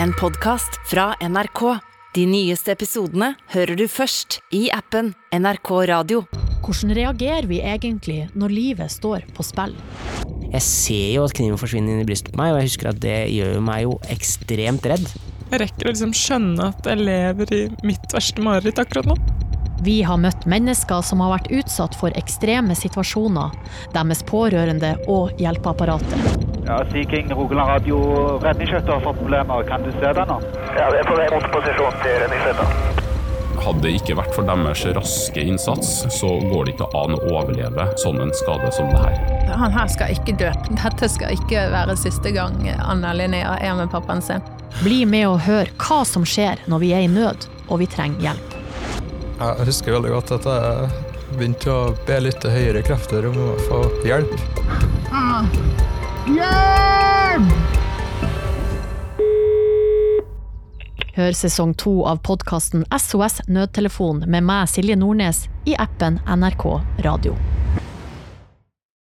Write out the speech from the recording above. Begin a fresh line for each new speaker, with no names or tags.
En podcast fra NRK. De nyeste episodene hører du først i appen NRK Radio.
Hvordan reagerer vi egentlig når livet står på spill?
Jeg ser jo at kniven forsvinner inn i brystet på meg, og jeg husker at det gjør jo meg jo ekstremt redd.
Jeg rekker å liksom skjønne at jeg lever i mitt verste mareritt akkurat nå.
Vi har møtt mennesker som har vært utsatt for ekstreme situasjoner, deres pårørende og hjelpeapparatet.
Ja, Sea King, Rogaland radio, redningsskøyter har fått problemer. Kan du se det nå?
Ja, vi er på vei mot posisjon til redningsskøyta.
Hadde det ikke vært for deres raske innsats, så går det ikke an å overleve sånn en skade som det her.
Han her skal ikke dø. Dette skal ikke være siste gang Anna Linnea er med pappaen sin.
Bli med og hør hva som skjer når vi er i nød og vi trenger hjelp.
Jeg husker veldig godt at jeg begynte å be litt til høyere krefter om å få hjelp. Ah.
Hør sesong to av podkasten SOS Nødtelefon med meg, Silje Nordnes, i appen NRK Radio.